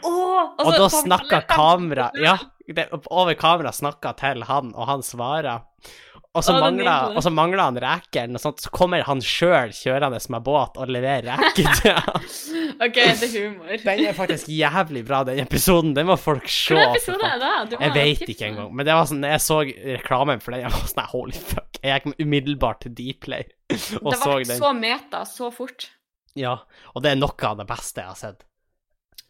Speaker 2: Åh, altså,
Speaker 1: Og
Speaker 2: så-
Speaker 1: da
Speaker 2: så-
Speaker 1: snakker kamera Ja, det, over kamera snakker til han, og han svarer. Og så,
Speaker 2: Å, det er
Speaker 1: mangler,
Speaker 2: nydelig.
Speaker 1: og så mangler han rekeren, og sånt, så kommer han sjøl kjørende med båt og leverer reker
Speaker 2: [laughs]
Speaker 1: til han.
Speaker 2: OK, det er humor.
Speaker 1: Den er faktisk jævlig bra, den episoden. Den må folk se.
Speaker 2: Hvilken
Speaker 1: for
Speaker 2: episode er
Speaker 1: faen.
Speaker 2: det? Du må
Speaker 1: Jeg
Speaker 2: ha
Speaker 1: veit
Speaker 2: tips
Speaker 1: ikke
Speaker 2: meg.
Speaker 1: engang. Men det var sånn, jeg så reklamen for den, jeg var sånn Holy fuck. Jeg gikk umiddelbart til Dplay og
Speaker 2: Det
Speaker 1: så
Speaker 2: var
Speaker 1: den.
Speaker 2: så meta så fort.
Speaker 1: Ja, og det er noe av det beste jeg har sett.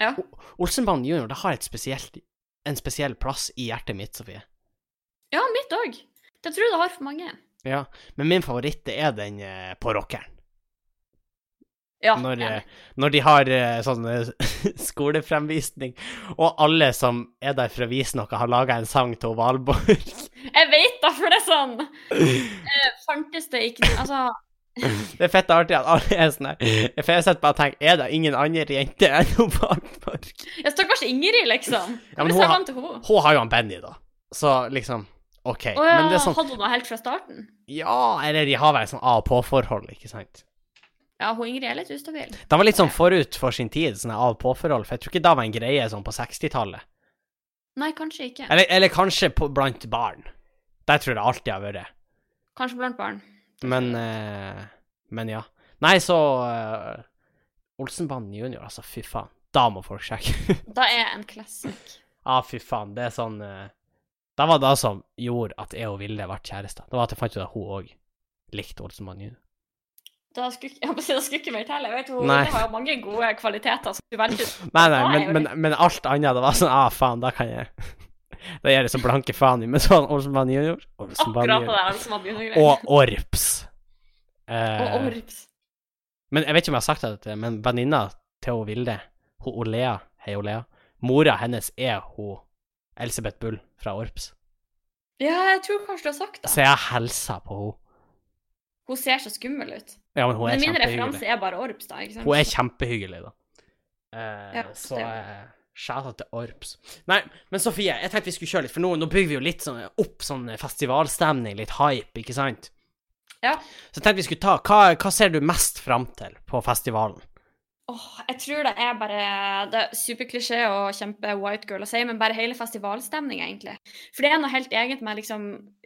Speaker 2: Ja.
Speaker 1: O- Olsenbanen junior, det har et spesielt, en spesiell plass i hjertet mitt, Sofie.
Speaker 2: Ja, mitt òg. Det tror jeg det har for mange.
Speaker 1: Ja, men min favoritt det er den eh, på rockeren.
Speaker 2: Ja,
Speaker 1: Når,
Speaker 2: enig.
Speaker 1: eh, når de har eh, sånn eh, [laughs] skolefremvisning, og alle som er der for å vise noe, har laga en sang til Valborg. [laughs]
Speaker 2: Jeg vet da, for det er sånn eh, Fantes det ikke Altså,
Speaker 1: Det er fett artig at alle er sånn her. For jeg sitter bare og tenker, er det ingen andre jenter enn hun Valborg?
Speaker 2: jeg stakkars Ingrid, liksom.
Speaker 1: Ja,
Speaker 2: Ja,
Speaker 1: men
Speaker 2: men
Speaker 1: hun har-
Speaker 2: til henne.
Speaker 1: Hun har jo han Benny, da. Så liksom, OK.
Speaker 2: Å ja,
Speaker 1: Men det er sånn
Speaker 2: hadde hun det helt fra starten?
Speaker 1: Ja, eller de har vel sånn av-på-forhold, ikke sant?
Speaker 2: Ja, hun Ingrid er litt ustabil.
Speaker 1: De var litt sånn forut for sin tid, sånne av-på-forhold, for jeg tror ikke det var en greie sånn på 60-tallet.
Speaker 2: Nei, kanskje ikke.
Speaker 1: Eller, eller kanskje på, blant barn. Der tror jeg det alltid har vært.
Speaker 2: Kanskje blant barn.
Speaker 1: Men eh, Men ja. Nei, så eh, Olsenbanen junior, altså, fy faen. Da må folk sjekke. [laughs]
Speaker 2: Da er en classic.
Speaker 1: Ja, fy faen, det er sånn eh, Det var det som gjorde at jeg og Vilde ble kjærester. Det var at jeg fant ut at hun òg likte Olsenbanen junior.
Speaker 2: Da skulle, ikke- [laughs] jeg holdt på å si, da skulle ikke mer til. Jeg vet hun
Speaker 1: Nei.
Speaker 2: hun har jo mange gode kvaliteter. som du
Speaker 1: [laughs]
Speaker 2: velger.
Speaker 1: Nei, nei,
Speaker 2: Da er
Speaker 1: men,
Speaker 2: jeg jo
Speaker 1: men, men alt annet, det var sånn Ah, faen, da kan jeg [laughs] Da gjør jeg så blanke faen i, men sånn Olsenbanen junior Olsenbanen
Speaker 2: Akkurat det
Speaker 1: junior.
Speaker 2: der som var begynnergreier.
Speaker 1: Og Orps. Eh,
Speaker 2: Og Orps.
Speaker 1: Men jeg vet ikke om jeg har sagt det, til deg, men venninna til hun Vilde, hun Olea, hei Olea, mora hennes er hun Elisabeth Bull fra Orps.
Speaker 2: Ja, jeg tror kanskje du har sagt det.
Speaker 1: Så jeg hilser på henne.
Speaker 2: Hun ser så skummel ut.
Speaker 1: Ja, men hun er
Speaker 2: Men min
Speaker 1: kjempehyggelig.
Speaker 2: referanse er bare Orps, da. ikke sant?
Speaker 1: Hun er kjempehyggelig, da. Eh,
Speaker 2: Ja,
Speaker 1: så
Speaker 2: det er
Speaker 1: eh, shout out til Orps. Nei, men Sofie, jeg tenkte vi skulle kjøre litt, for nå, nå bygger vi jo litt sånn opp sånn festivalstemning, litt hype, ikke sant?
Speaker 2: Ja.
Speaker 1: Så jeg tenkte vi skulle ta Hva, hva ser du mest fram til på festivalen?
Speaker 2: Åh, jeg tror det er bare Det er superklisjé og kjempe white girl å si, men bare hele festivalstemninga, egentlig. For det er noe helt eget med liksom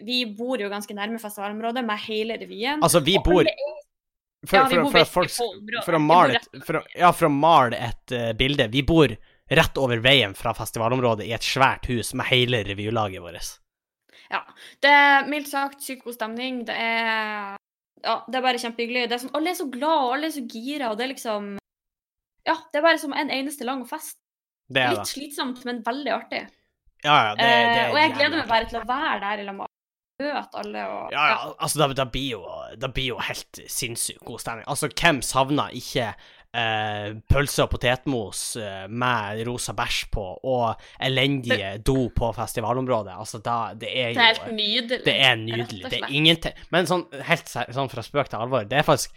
Speaker 2: Vi bor jo ganske nærme festivalområdet med hele revyen.
Speaker 1: Altså, vi
Speaker 2: Og
Speaker 1: bor
Speaker 2: alle er-
Speaker 1: For,
Speaker 2: Ja, vi
Speaker 1: for,
Speaker 2: bor
Speaker 1: for, at
Speaker 2: veldig
Speaker 1: folk,
Speaker 2: på området.
Speaker 1: sk- for, å
Speaker 2: Vi bor
Speaker 1: male
Speaker 2: rett
Speaker 1: et, for, å- ja, for å male et eh, bilde Vi bor rett over veien fra festivalområdet i et svært hus med hele revylaget vårt.
Speaker 2: Det er mildt sagt sykt god stemning. Det er Ja, det er bare kjempehyggelig. Det er sånn, Alle er så glad, og alle er så gira, og det er liksom Ja, det er bare som en eneste lang fest.
Speaker 1: Det er
Speaker 2: Litt
Speaker 1: det.
Speaker 2: slitsomt, men veldig artig.
Speaker 1: Ja, ja, det, det
Speaker 2: eh,
Speaker 1: er
Speaker 2: og jeg
Speaker 1: jævlig
Speaker 2: gleder meg
Speaker 1: artig.
Speaker 2: bare til å være der i lag med alle. Møte alle og
Speaker 1: Ja, ja, altså, da, da, blir jo, da blir jo helt sinnssykt god stemning. Altså, hvem savner ikke eh, pølse og potetmos eh, med rosa bæsj på, og elendige do på festivalområdet? Altså, da Det er
Speaker 2: Det
Speaker 1: jo
Speaker 2: er helt nydelig.
Speaker 1: Det er
Speaker 2: Rett
Speaker 1: nydelig.
Speaker 2: og
Speaker 1: Det er
Speaker 2: slett.
Speaker 1: ingenting Men sånn, helt ser- sånn fra spøk til alvor, det er faktisk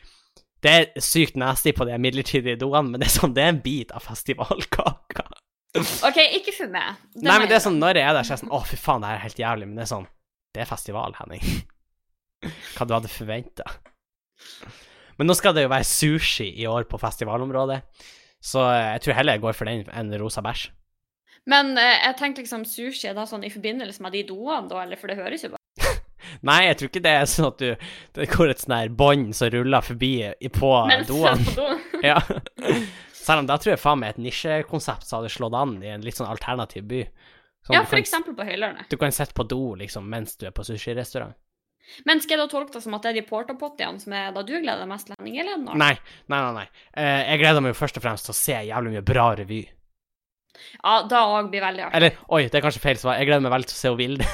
Speaker 1: Det er sykt nasty på de midlertidige doene, men det er sånn, det er en bit av festivalkaka.
Speaker 2: OK, ikke for meg. Det
Speaker 1: Nei, men det er
Speaker 2: mener
Speaker 1: sånn, når jeg er der, så er jeg sånn Å, fy faen, det her er helt jævlig, men det er sånn Det er festival, Henning. [laughs] Hva du hadde forventa. Men nå skal det jo være sushi i år på festivalområdet, så jeg tror heller jeg går for den enn rosa bæsj.
Speaker 2: jeg. Men eh, jeg tenkte liksom sushi er da sånn i forbindelse med de doene, da, eller for det høres jo bare
Speaker 1: Nei, jeg tror ikke det er sånn at du Det går et sånn her bånd som ruller forbi i- på
Speaker 2: Mens du
Speaker 1: [laughs] doen.
Speaker 2: er [laughs] på doen.
Speaker 1: Ja. Selv om da tror jeg faen meg et nisjekonsept som hadde slått an i en litt sånn alternativ by. Sånn,
Speaker 2: Ja,
Speaker 1: du,
Speaker 2: for
Speaker 1: kan,
Speaker 2: eksempel på Høylørene.
Speaker 1: du kan sitte på do liksom mens du er på sushirestaurant.
Speaker 2: Men skal jeg da tolke det som at det er de portapottiene som er da du gleder deg mest til, Henning? Eller nå?
Speaker 1: Nei, nei, nei. nei. Eh, jeg gleder meg jo først og fremst til å se jævlig mye bra revy.
Speaker 2: Ja, da òg blir veldig artig.
Speaker 1: Eller oi, det er kanskje feil svar. Jeg gleder meg veldig til å se hun Vilde,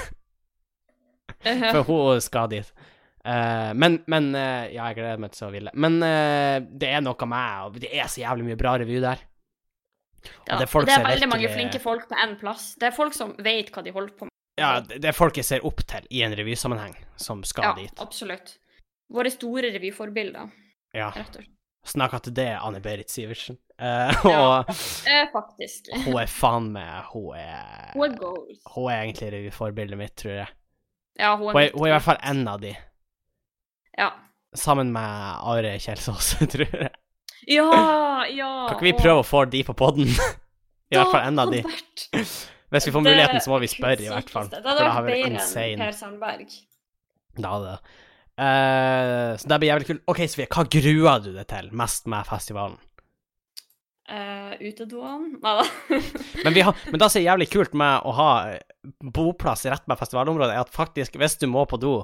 Speaker 2: [laughs]
Speaker 1: for hun skal dit. Eh, men, men eh, Ja, jeg gleder meg til å se hun Vilde. Men eh, det er noe med og Det er så jævlig mye bra revy der.
Speaker 2: Ja,
Speaker 1: det er folk
Speaker 2: det er
Speaker 1: som er
Speaker 2: veldig mange
Speaker 1: virkelig-
Speaker 2: flinke folk på én plass. Det er folk som vet hva de holder på med.
Speaker 1: Ja, det det er folk jeg ser opp til i en revysammenheng, som skal
Speaker 2: Ja,
Speaker 1: dit.
Speaker 2: absolutt. Våre store revyforbilder,
Speaker 1: Ja.
Speaker 2: rett og slett.
Speaker 1: Snakka til det Anne-Berit Sivertsen. Eh, [laughs]
Speaker 2: Ja.
Speaker 1: og
Speaker 2: Eh, faktisk.
Speaker 1: hun er faen meg Hun er
Speaker 2: Hun er goals.
Speaker 1: Hun er egentlig revyforbildet mitt, tror jeg.
Speaker 2: Ja, hun er,
Speaker 1: Hun er,
Speaker 2: mitt
Speaker 1: hun er i hvert
Speaker 2: gull.
Speaker 1: fall en av de.
Speaker 2: Ja.
Speaker 1: Sammen med Are Kjelsås, [laughs] tror jeg.
Speaker 2: Ja, ja.
Speaker 1: Kan ikke vi prøve å få de på poden? [laughs] I hvert fall en av de. [laughs] Hvis vi får muligheten, så må vi spørre, i hvert fall.
Speaker 2: Det
Speaker 1: For
Speaker 2: hadde
Speaker 1: det
Speaker 2: vært
Speaker 1: har vært
Speaker 2: bedre enn
Speaker 1: insane.
Speaker 2: Per Sandberg.
Speaker 1: Da hadde det. Eh, så det blir jævlig kult. OK, Sofie, hva gruer du deg til mest med festivalen?
Speaker 2: Uh, Utedoene Nei da. [laughs]
Speaker 1: Men, vi har, men det som er jævlig kult med å ha eh, boplass rett med festivalområdet, er at faktisk, hvis du må på do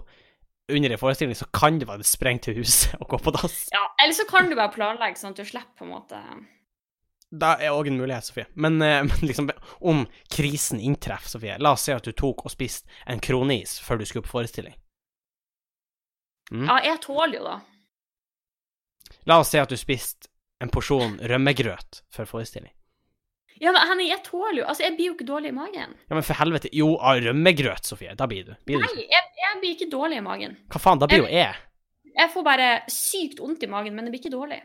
Speaker 1: under en forestilling, så kan du faktisk sprenge til huset og gå på dass.
Speaker 2: Ja, eller så kan du bare planlegge sånn at du slipper på en måte
Speaker 1: Mm. Det er òg en mulighet, Sofie. Men, eh, [laughs] men liksom, om krisen inntreffer, Sofie La oss si at du tok og spiste en kroneis før du skulle på forestilling.
Speaker 2: Ja, jeg tåler jo da.
Speaker 1: La oss si at du spiste en porsjon rømmegrøt før forestilling.
Speaker 2: Ja, men Henning, jeg tåler jo Altså, jeg blir jo ikke dårlig i magen.
Speaker 1: Ja, men for helvete. Jo, av rømmegrøt, Sofie. Da blir du. Blir du.
Speaker 2: Nei, jeg, jeg blir ikke dårlig i magen.
Speaker 1: Hva faen, da blir E? jo jeg.
Speaker 2: Jeg får bare sykt vondt i magen, men det blir ikke dårlig.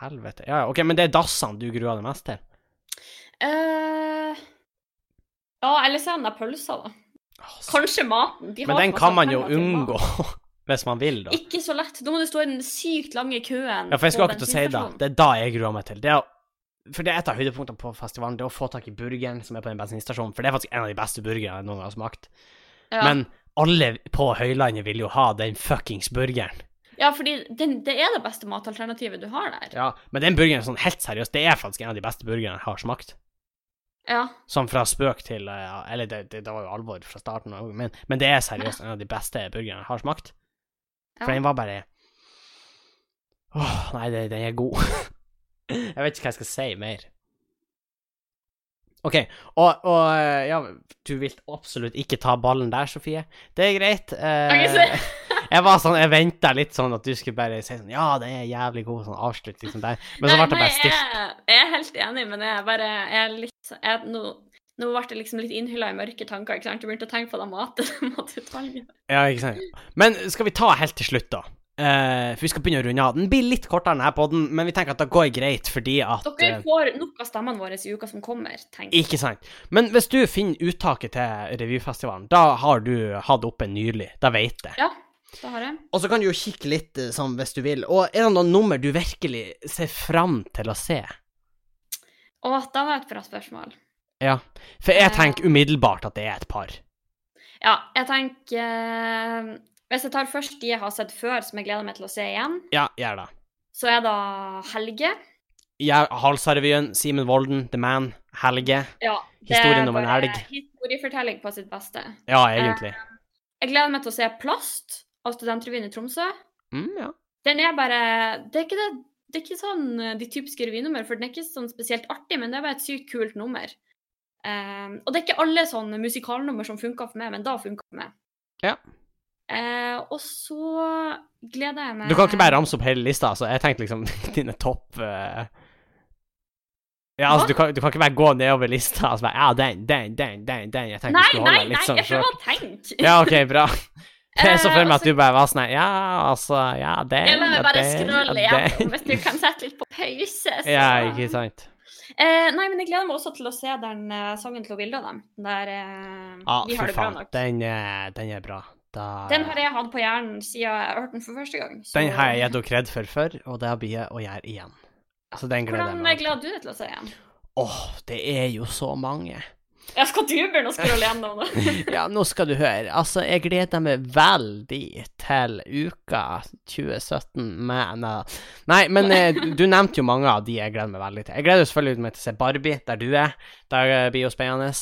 Speaker 1: Helvete. Ja, ja, OK, men det er dassene du gruer deg mest til?
Speaker 2: eh ja, eller så er den der pølsa, da.
Speaker 1: Åh,
Speaker 2: Kanskje maten. De
Speaker 1: Men
Speaker 2: har
Speaker 1: den
Speaker 2: masse
Speaker 1: kan man jo
Speaker 2: penger til mat.
Speaker 1: unngå [laughs] hvis man vil, da.
Speaker 2: Ikke så lett. Da må du stå i den sykt lange køen.
Speaker 1: Ja, for jeg skulle
Speaker 2: på
Speaker 1: akkurat til å si det.
Speaker 2: bensinstasjonen.
Speaker 1: Det er da jeg gruer meg til. Det er, å- for det er et av høydepunktene på festivalen, det er å få tak i burgeren som er på den bensinstasjonen, for det er faktisk en av de beste burgerne jeg noen gang har smakt.
Speaker 2: Ja.
Speaker 1: Men alle på Høylandet vil jo ha den fuckings burgeren.
Speaker 2: ja, fordi den, det er det beste matalternativet du har der. Ja.
Speaker 1: Ja, men den burgeren, sånn helt seriøst, det er faktisk en av de beste burgerne jeg har smakt. Sånn fra spøk til eh, ja, Eller det, det, det var jo alvor fra starten av, men, men det er seriøst en av de beste burgerne jeg har smakt. For
Speaker 2: Ja.
Speaker 1: den var bare Åh, nei, den, den er god. [laughs] jeg vet ikke hva jeg skal si mer. OK, og, og eh, ja, du vil absolutt ikke ta ballen der, Sofie. Det er greit. eh,
Speaker 2: Ok, så-
Speaker 1: [laughs] jeg var sånn, jeg venta litt sånn at du skulle bare si sånn Ja, den er jævlig god, sånn avslutt liksom der. Men så
Speaker 2: Nei,
Speaker 1: ble det
Speaker 2: nei,
Speaker 1: bare stilt.
Speaker 2: Jeg, jeg er helt enig, men jeg er bare jeg er litt jeg, nå, nå ble jeg liksom litt innhylla i mørke tanker. ikke sant? Jeg begynte å tenke på den maten. [laughs] matutvalget.
Speaker 1: Ja, ikke sant. Men skal vi ta helt til slutt, da? Eh, for vi skal begynne å runde av. Den blir litt kortere, denne podden, men vi tenker at det går greit fordi at eh,
Speaker 2: Dere får nok av stemmene våre i uka som kommer, tenk.
Speaker 1: Ikke sant. Men hvis du finner uttaket til revyfestivalen, da har du hatt oppe nylig. Da veit jeg.
Speaker 2: Ja, det har jeg.
Speaker 1: Og så kan du jo kikke litt eh, sånn hvis du vil. Og er det noen nummer du virkelig ser fram til å se?
Speaker 2: Å, det var et bra spørsmål.
Speaker 1: Ja. For jeg
Speaker 2: Eh.
Speaker 1: tenker umiddelbart at det er et par.
Speaker 2: Ja, jeg tenker eh, Hvis jeg tar først de jeg har sett før, som jeg gleder meg til å se igjen,
Speaker 1: Ja, gjør det.
Speaker 2: Så er da Helge.
Speaker 1: Ja, Halsarevyen, Simen Volden, The Man, Helge.
Speaker 2: Ja,
Speaker 1: Historien om en
Speaker 2: bare
Speaker 1: helg.
Speaker 2: Historiefortelling på sitt beste.
Speaker 1: Ja, egentlig.
Speaker 2: Jeg gleder meg til å se Plast av Studentrevyen i Tromsø.
Speaker 1: Mm, ja.
Speaker 2: Den er bare Det er ikke, det, det er ikke sånn eh, de typiske revynummer, for den er ikke sånn spesielt artig, men det er bare et sykt kult nummer. Ehm, og det er ikke alle sånne musikalnummer som funker for meg, men da funker det for meg.
Speaker 1: Ja.
Speaker 2: Eh, og så gleder jeg meg
Speaker 1: Du kan ikke bare ramse opp hele lista, altså. Jeg tenkte liksom [laughs] dine topp eh. Ja, altså,
Speaker 2: Hva?
Speaker 1: du kan, du kan ikke bare gå nedover lista og så bare Ja, den, den, den, den, den. Jeg tenkte
Speaker 2: Nei,
Speaker 1: du skulle holde
Speaker 2: nei,
Speaker 1: deg
Speaker 2: nei,
Speaker 1: litt sånn
Speaker 2: jeg
Speaker 1: sjøl.
Speaker 2: prøver å tenke.
Speaker 1: Ja, OK, bra. Jeg så for meg at
Speaker 2: Eh,
Speaker 1: du bare var sånn her, Ja, altså Ja, den,
Speaker 2: [laughs] Jeg lar meg
Speaker 1: ja,
Speaker 2: bare
Speaker 1: den,
Speaker 2: scrolle
Speaker 1: ja,
Speaker 2: igjennom,
Speaker 1: den.
Speaker 2: hvis du kan sette litt på pause. [laughs] Så.
Speaker 1: [laughs] Ja, ikke sant.
Speaker 2: Eh, nei, men jeg gleder meg også til å se den eh, sangen til Vilde og dem. Den Der eh,
Speaker 1: Ja,
Speaker 2: Vi
Speaker 1: Ah, fy
Speaker 2: har det bra
Speaker 1: faen.
Speaker 2: nok.
Speaker 1: Den, eh, den er bra. Da,
Speaker 2: Den har jeg hatt på hjernen siden jeg hørte den for første gang. så-
Speaker 1: den har jeg gitt dere kred for før, og det blir jeg å gjøre igjen. Så den gleder jeg
Speaker 2: Hvordan
Speaker 1: meg til.
Speaker 2: gleder du deg til å se igjen?
Speaker 1: Åh, det er jo så mange.
Speaker 2: Ja, skal du begynne å scrolle gjennom nå?
Speaker 1: Ja, nå skal du høre. Altså, jeg gleder meg veldig til uka 2017 med Nei, da. Nei, men eh, du nevnte jo mange av de jeg gleder meg veldig til. Jeg gleder meg selvfølgelig meg til å se Barbie, der du er. Det eh, blir jo spennende.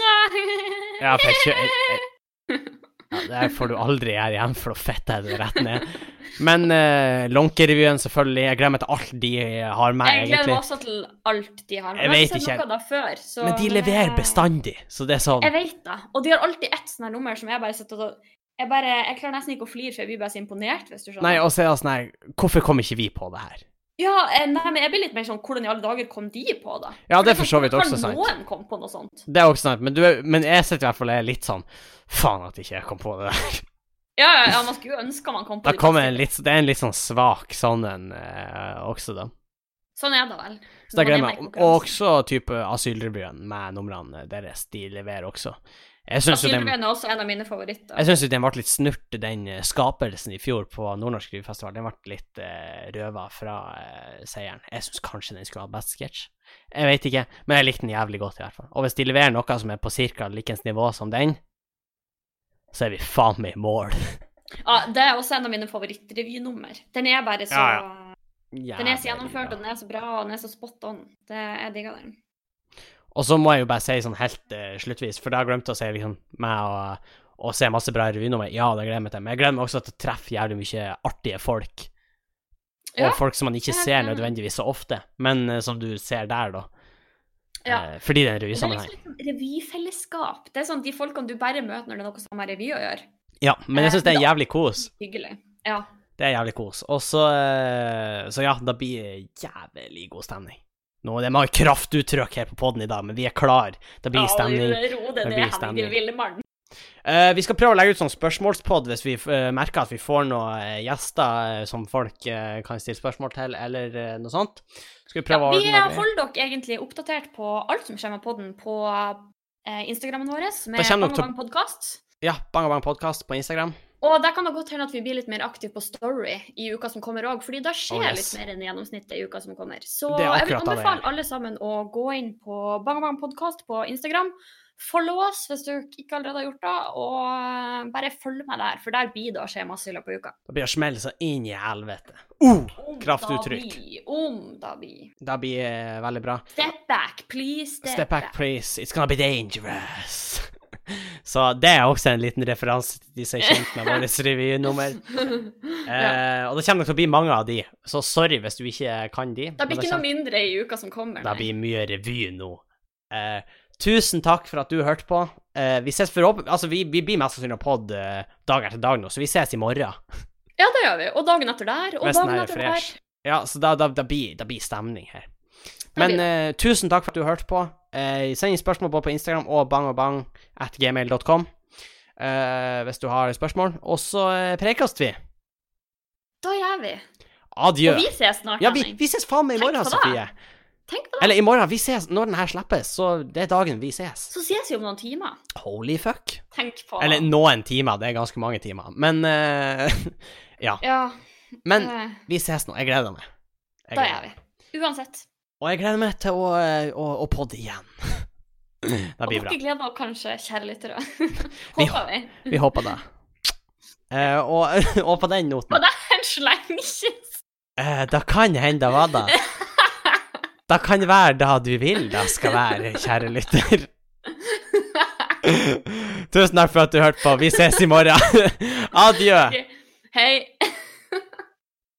Speaker 2: Nei.
Speaker 1: [laughs] Ja, for jeg kjø... Jeg, jeg... Ja, det her får du aldri gjøre igjen, for da fitter jeg det rett ned. Men eh, Lånkerevyen, selvfølgelig. Jeg gleder meg til alt de har med,
Speaker 2: Jeg gleder meg
Speaker 1: egentlig.
Speaker 2: også til alt de har.
Speaker 1: Jeg
Speaker 2: har
Speaker 1: vet
Speaker 2: sett
Speaker 1: ikke.
Speaker 2: noe da før, så
Speaker 1: Men de leverer bestandig, så det er sånn.
Speaker 2: eh, Jeg vet det. Og de har alltid ett sånn her nummer som jeg bare sitter og jeg, bare, jeg klarer nesten ikke å flire, for jeg blir bare så imponert, hvis du skjønner.
Speaker 1: Nei, og så er det sånn her Hvorfor kom ikke vi på det her?
Speaker 2: Ja, eh, nei, men jeg blir litt mer sånn Hvordan i alle dager kom de på det?
Speaker 1: Ja, det er for så vidt
Speaker 2: Hvordan
Speaker 1: også sant.
Speaker 2: Kan noen komme på noe sånt?
Speaker 1: Det er også sant, men, du er, men jeg sitter i hvert fall og er litt sånn Faen at ikke jeg kom på det der.
Speaker 2: Ja, ja, ja, man skulle jo ønske man kom på
Speaker 1: Da
Speaker 2: de
Speaker 1: kommer
Speaker 2: beste.
Speaker 1: en litt, det er en litt sånn svak sånn en eh, også, da.
Speaker 2: Sånn er det vel.
Speaker 1: Så det
Speaker 2: Når
Speaker 1: gleder
Speaker 2: man er
Speaker 1: jeg
Speaker 2: med i
Speaker 1: meg. Og
Speaker 2: konkurransen.
Speaker 1: også type Asylrevyen med numrene deres. De leverer også. Jeg syns jo den
Speaker 2: Asylrevyen er også en av mine favoritter.
Speaker 1: Jeg syns jo den ble litt snurt, den eh, skapelsen i fjor på Nordnorsk Skrivefestival. Den ble litt eh, røva fra eh, seieren. Jeg syns kanskje den skulle hatt best sketsj. Jeg vet ikke, men jeg likte den jævlig godt, i hvert fall. Og hvis de leverer noe som er på ca. likens nivå som den, så er vi faen meg i mål.
Speaker 2: Ja, Ah, det er også en av mine favorittrevynummer. Den er bare så
Speaker 1: Ja,
Speaker 2: [laughs] Den er
Speaker 1: Jævlig
Speaker 2: så gjennomført,
Speaker 1: bra.
Speaker 2: og den er så bra, og den er så spot on. Det, jeg digger den.
Speaker 1: Og så må jeg jo bare si sånn helt eh, sluttvis, for da glemte jeg å si liksom meg og, og se masse bra revynummer. Ja, det gleder jeg meg til. Men jeg gleder meg også til å treffe jævlig mye artige folk. Og
Speaker 2: Ja,
Speaker 1: folk som man ikke
Speaker 2: jeg er
Speaker 1: ser
Speaker 2: helt enig.
Speaker 1: nødvendigvis så ofte, men eh, som du ser der, da.
Speaker 2: Ja.
Speaker 1: Eh, fordi det er en
Speaker 2: Og Det er liksom
Speaker 1: revysammenheng.
Speaker 2: litt sånn revyfellesskap. Det er sånn de folkene du bare møter når det er noe som har revy å gjøre.
Speaker 1: Ja,
Speaker 2: Eh,
Speaker 1: men jeg syns det er jævlig kos.
Speaker 2: Hyggelig. Ja.
Speaker 1: Det er jævlig kos. Og så eh, Så ja, da blir det jævlig god stemning. Nå, det er mange kraftuttrykk her på poden i dag, men vi er klar. Det blir stemning.
Speaker 2: Ja, ro
Speaker 1: Det
Speaker 2: deg
Speaker 1: blir
Speaker 2: ned, Helge
Speaker 1: stemning.
Speaker 2: Villemann.
Speaker 1: Eh, vi skal prøve å legge ut sånn spørsmålspod hvis vi eh, merker at vi får noen eh, gjester eh, som folk eh, kan stille spørsmål til, eller eh, noe sånt. Skal vi
Speaker 2: Ja,
Speaker 1: prøve å
Speaker 2: vi
Speaker 1: ordne noe greier.
Speaker 2: holder dere egentlig oppdatert på alt som kommer av podden på eh, Instagrammen vår, som
Speaker 1: Da
Speaker 2: er
Speaker 1: kommer dere til-
Speaker 2: Mange podkast.
Speaker 1: Ja, Bang Bang Podcast på Instagram.
Speaker 2: Og der kan det godt hende at vi blir litt mer aktive på Story i uka som kommer òg, fordi da skjer
Speaker 1: Oh, yes.
Speaker 2: litt mer enn gjennomsnittet i uka som kommer. Så
Speaker 1: Det er
Speaker 2: jeg vil
Speaker 1: akkurat da det
Speaker 2: anbefale
Speaker 1: er.
Speaker 2: alle sammen å gå inn på Bang Bang Podkast på Instagram. Follow oss hvis du ikke allerede har gjort det, og eh, bare følg med der, for der blir det å skje masse i løpet av uka.
Speaker 1: Da blir det smell så inn i helvete. Uh,
Speaker 2: Om
Speaker 1: Kraftuttrykk.
Speaker 2: Da blir, om da blir.
Speaker 1: det blir eh, veldig bra.
Speaker 2: Step back, please. Step,
Speaker 1: Step back,
Speaker 2: back.
Speaker 1: please. It's gonna be dangerous. [laughs] så det er også en liten referanse til de som er kjent med vårt
Speaker 2: [laughs]
Speaker 1: revynummer.
Speaker 2: ja.
Speaker 1: Eh, og det kommer nok til å bli mange av de, så sorry hvis du ikke kan de.
Speaker 2: Da
Speaker 1: men
Speaker 2: blir
Speaker 1: det
Speaker 2: ikke
Speaker 1: kommer-
Speaker 2: noe mindre i uka som kommer.
Speaker 1: Det
Speaker 2: nei.
Speaker 1: blir mye revy nå. Eh, tusen takk for at du hørte på. Eh, vi ses forhåpentlig Altså, vi, vi blir mest sannsynlig pod eh, dag etter dag nå, så vi ses i morgen.
Speaker 2: Ja, det gjør vi. Og dagen etter der, og
Speaker 1: Hvis den
Speaker 2: dagen
Speaker 1: her er
Speaker 2: etter der.
Speaker 1: fresh. Ja, så da, da, da, blir, da blir stemning her.
Speaker 2: Da blir
Speaker 1: Men eh, tusen takk for at du hørte på. Eh, send inn spørsmål både på Instagram og bangogbang at gmail.com eh, hvis du har spørsmål. Og så eh, prekast vi.
Speaker 2: Da gjør vi.
Speaker 1: Adjø.
Speaker 2: Og vi ses snart,
Speaker 1: Ja, vi,
Speaker 2: Henning.
Speaker 1: vi ses faen meg i
Speaker 2: Tenk
Speaker 1: morgen,
Speaker 2: på det.
Speaker 1: Sofie.
Speaker 2: Tenk på det.
Speaker 1: Eller i morgen. Vi ses når den her slippes, så det er dagen vi ses.
Speaker 2: Så ses vi om noen timer.
Speaker 1: Holy fuck.
Speaker 2: Tenk på
Speaker 1: Eller noen timer, det er ganske mange timer. Men eh, [laughs] ja.
Speaker 2: Ja.
Speaker 1: Men
Speaker 2: eh,
Speaker 1: vi ses nå. Jeg gleder meg. Jeg
Speaker 2: da
Speaker 1: gleder
Speaker 2: gjør
Speaker 1: meg.
Speaker 2: vi. Uansett.
Speaker 1: Og jeg gleder meg til å, eh, å, å podde igjen. [laughs] Det
Speaker 2: Og
Speaker 1: blir bra.
Speaker 2: dere gleder dere kanskje, kjære lyttere. [laughs]
Speaker 1: Vi-
Speaker 2: Håper vi.
Speaker 1: Vi håper det. Eh, og, [laughs] og på den noten
Speaker 2: Og det er en slengkyss.
Speaker 1: Eh, da kan hende det var da. Da kan det være da du vil da skal være, kjære lytter. Tusen takk for at du hørte på. Vi ses i morgen. [laughs] Adjø.
Speaker 2: [laughs] Hei.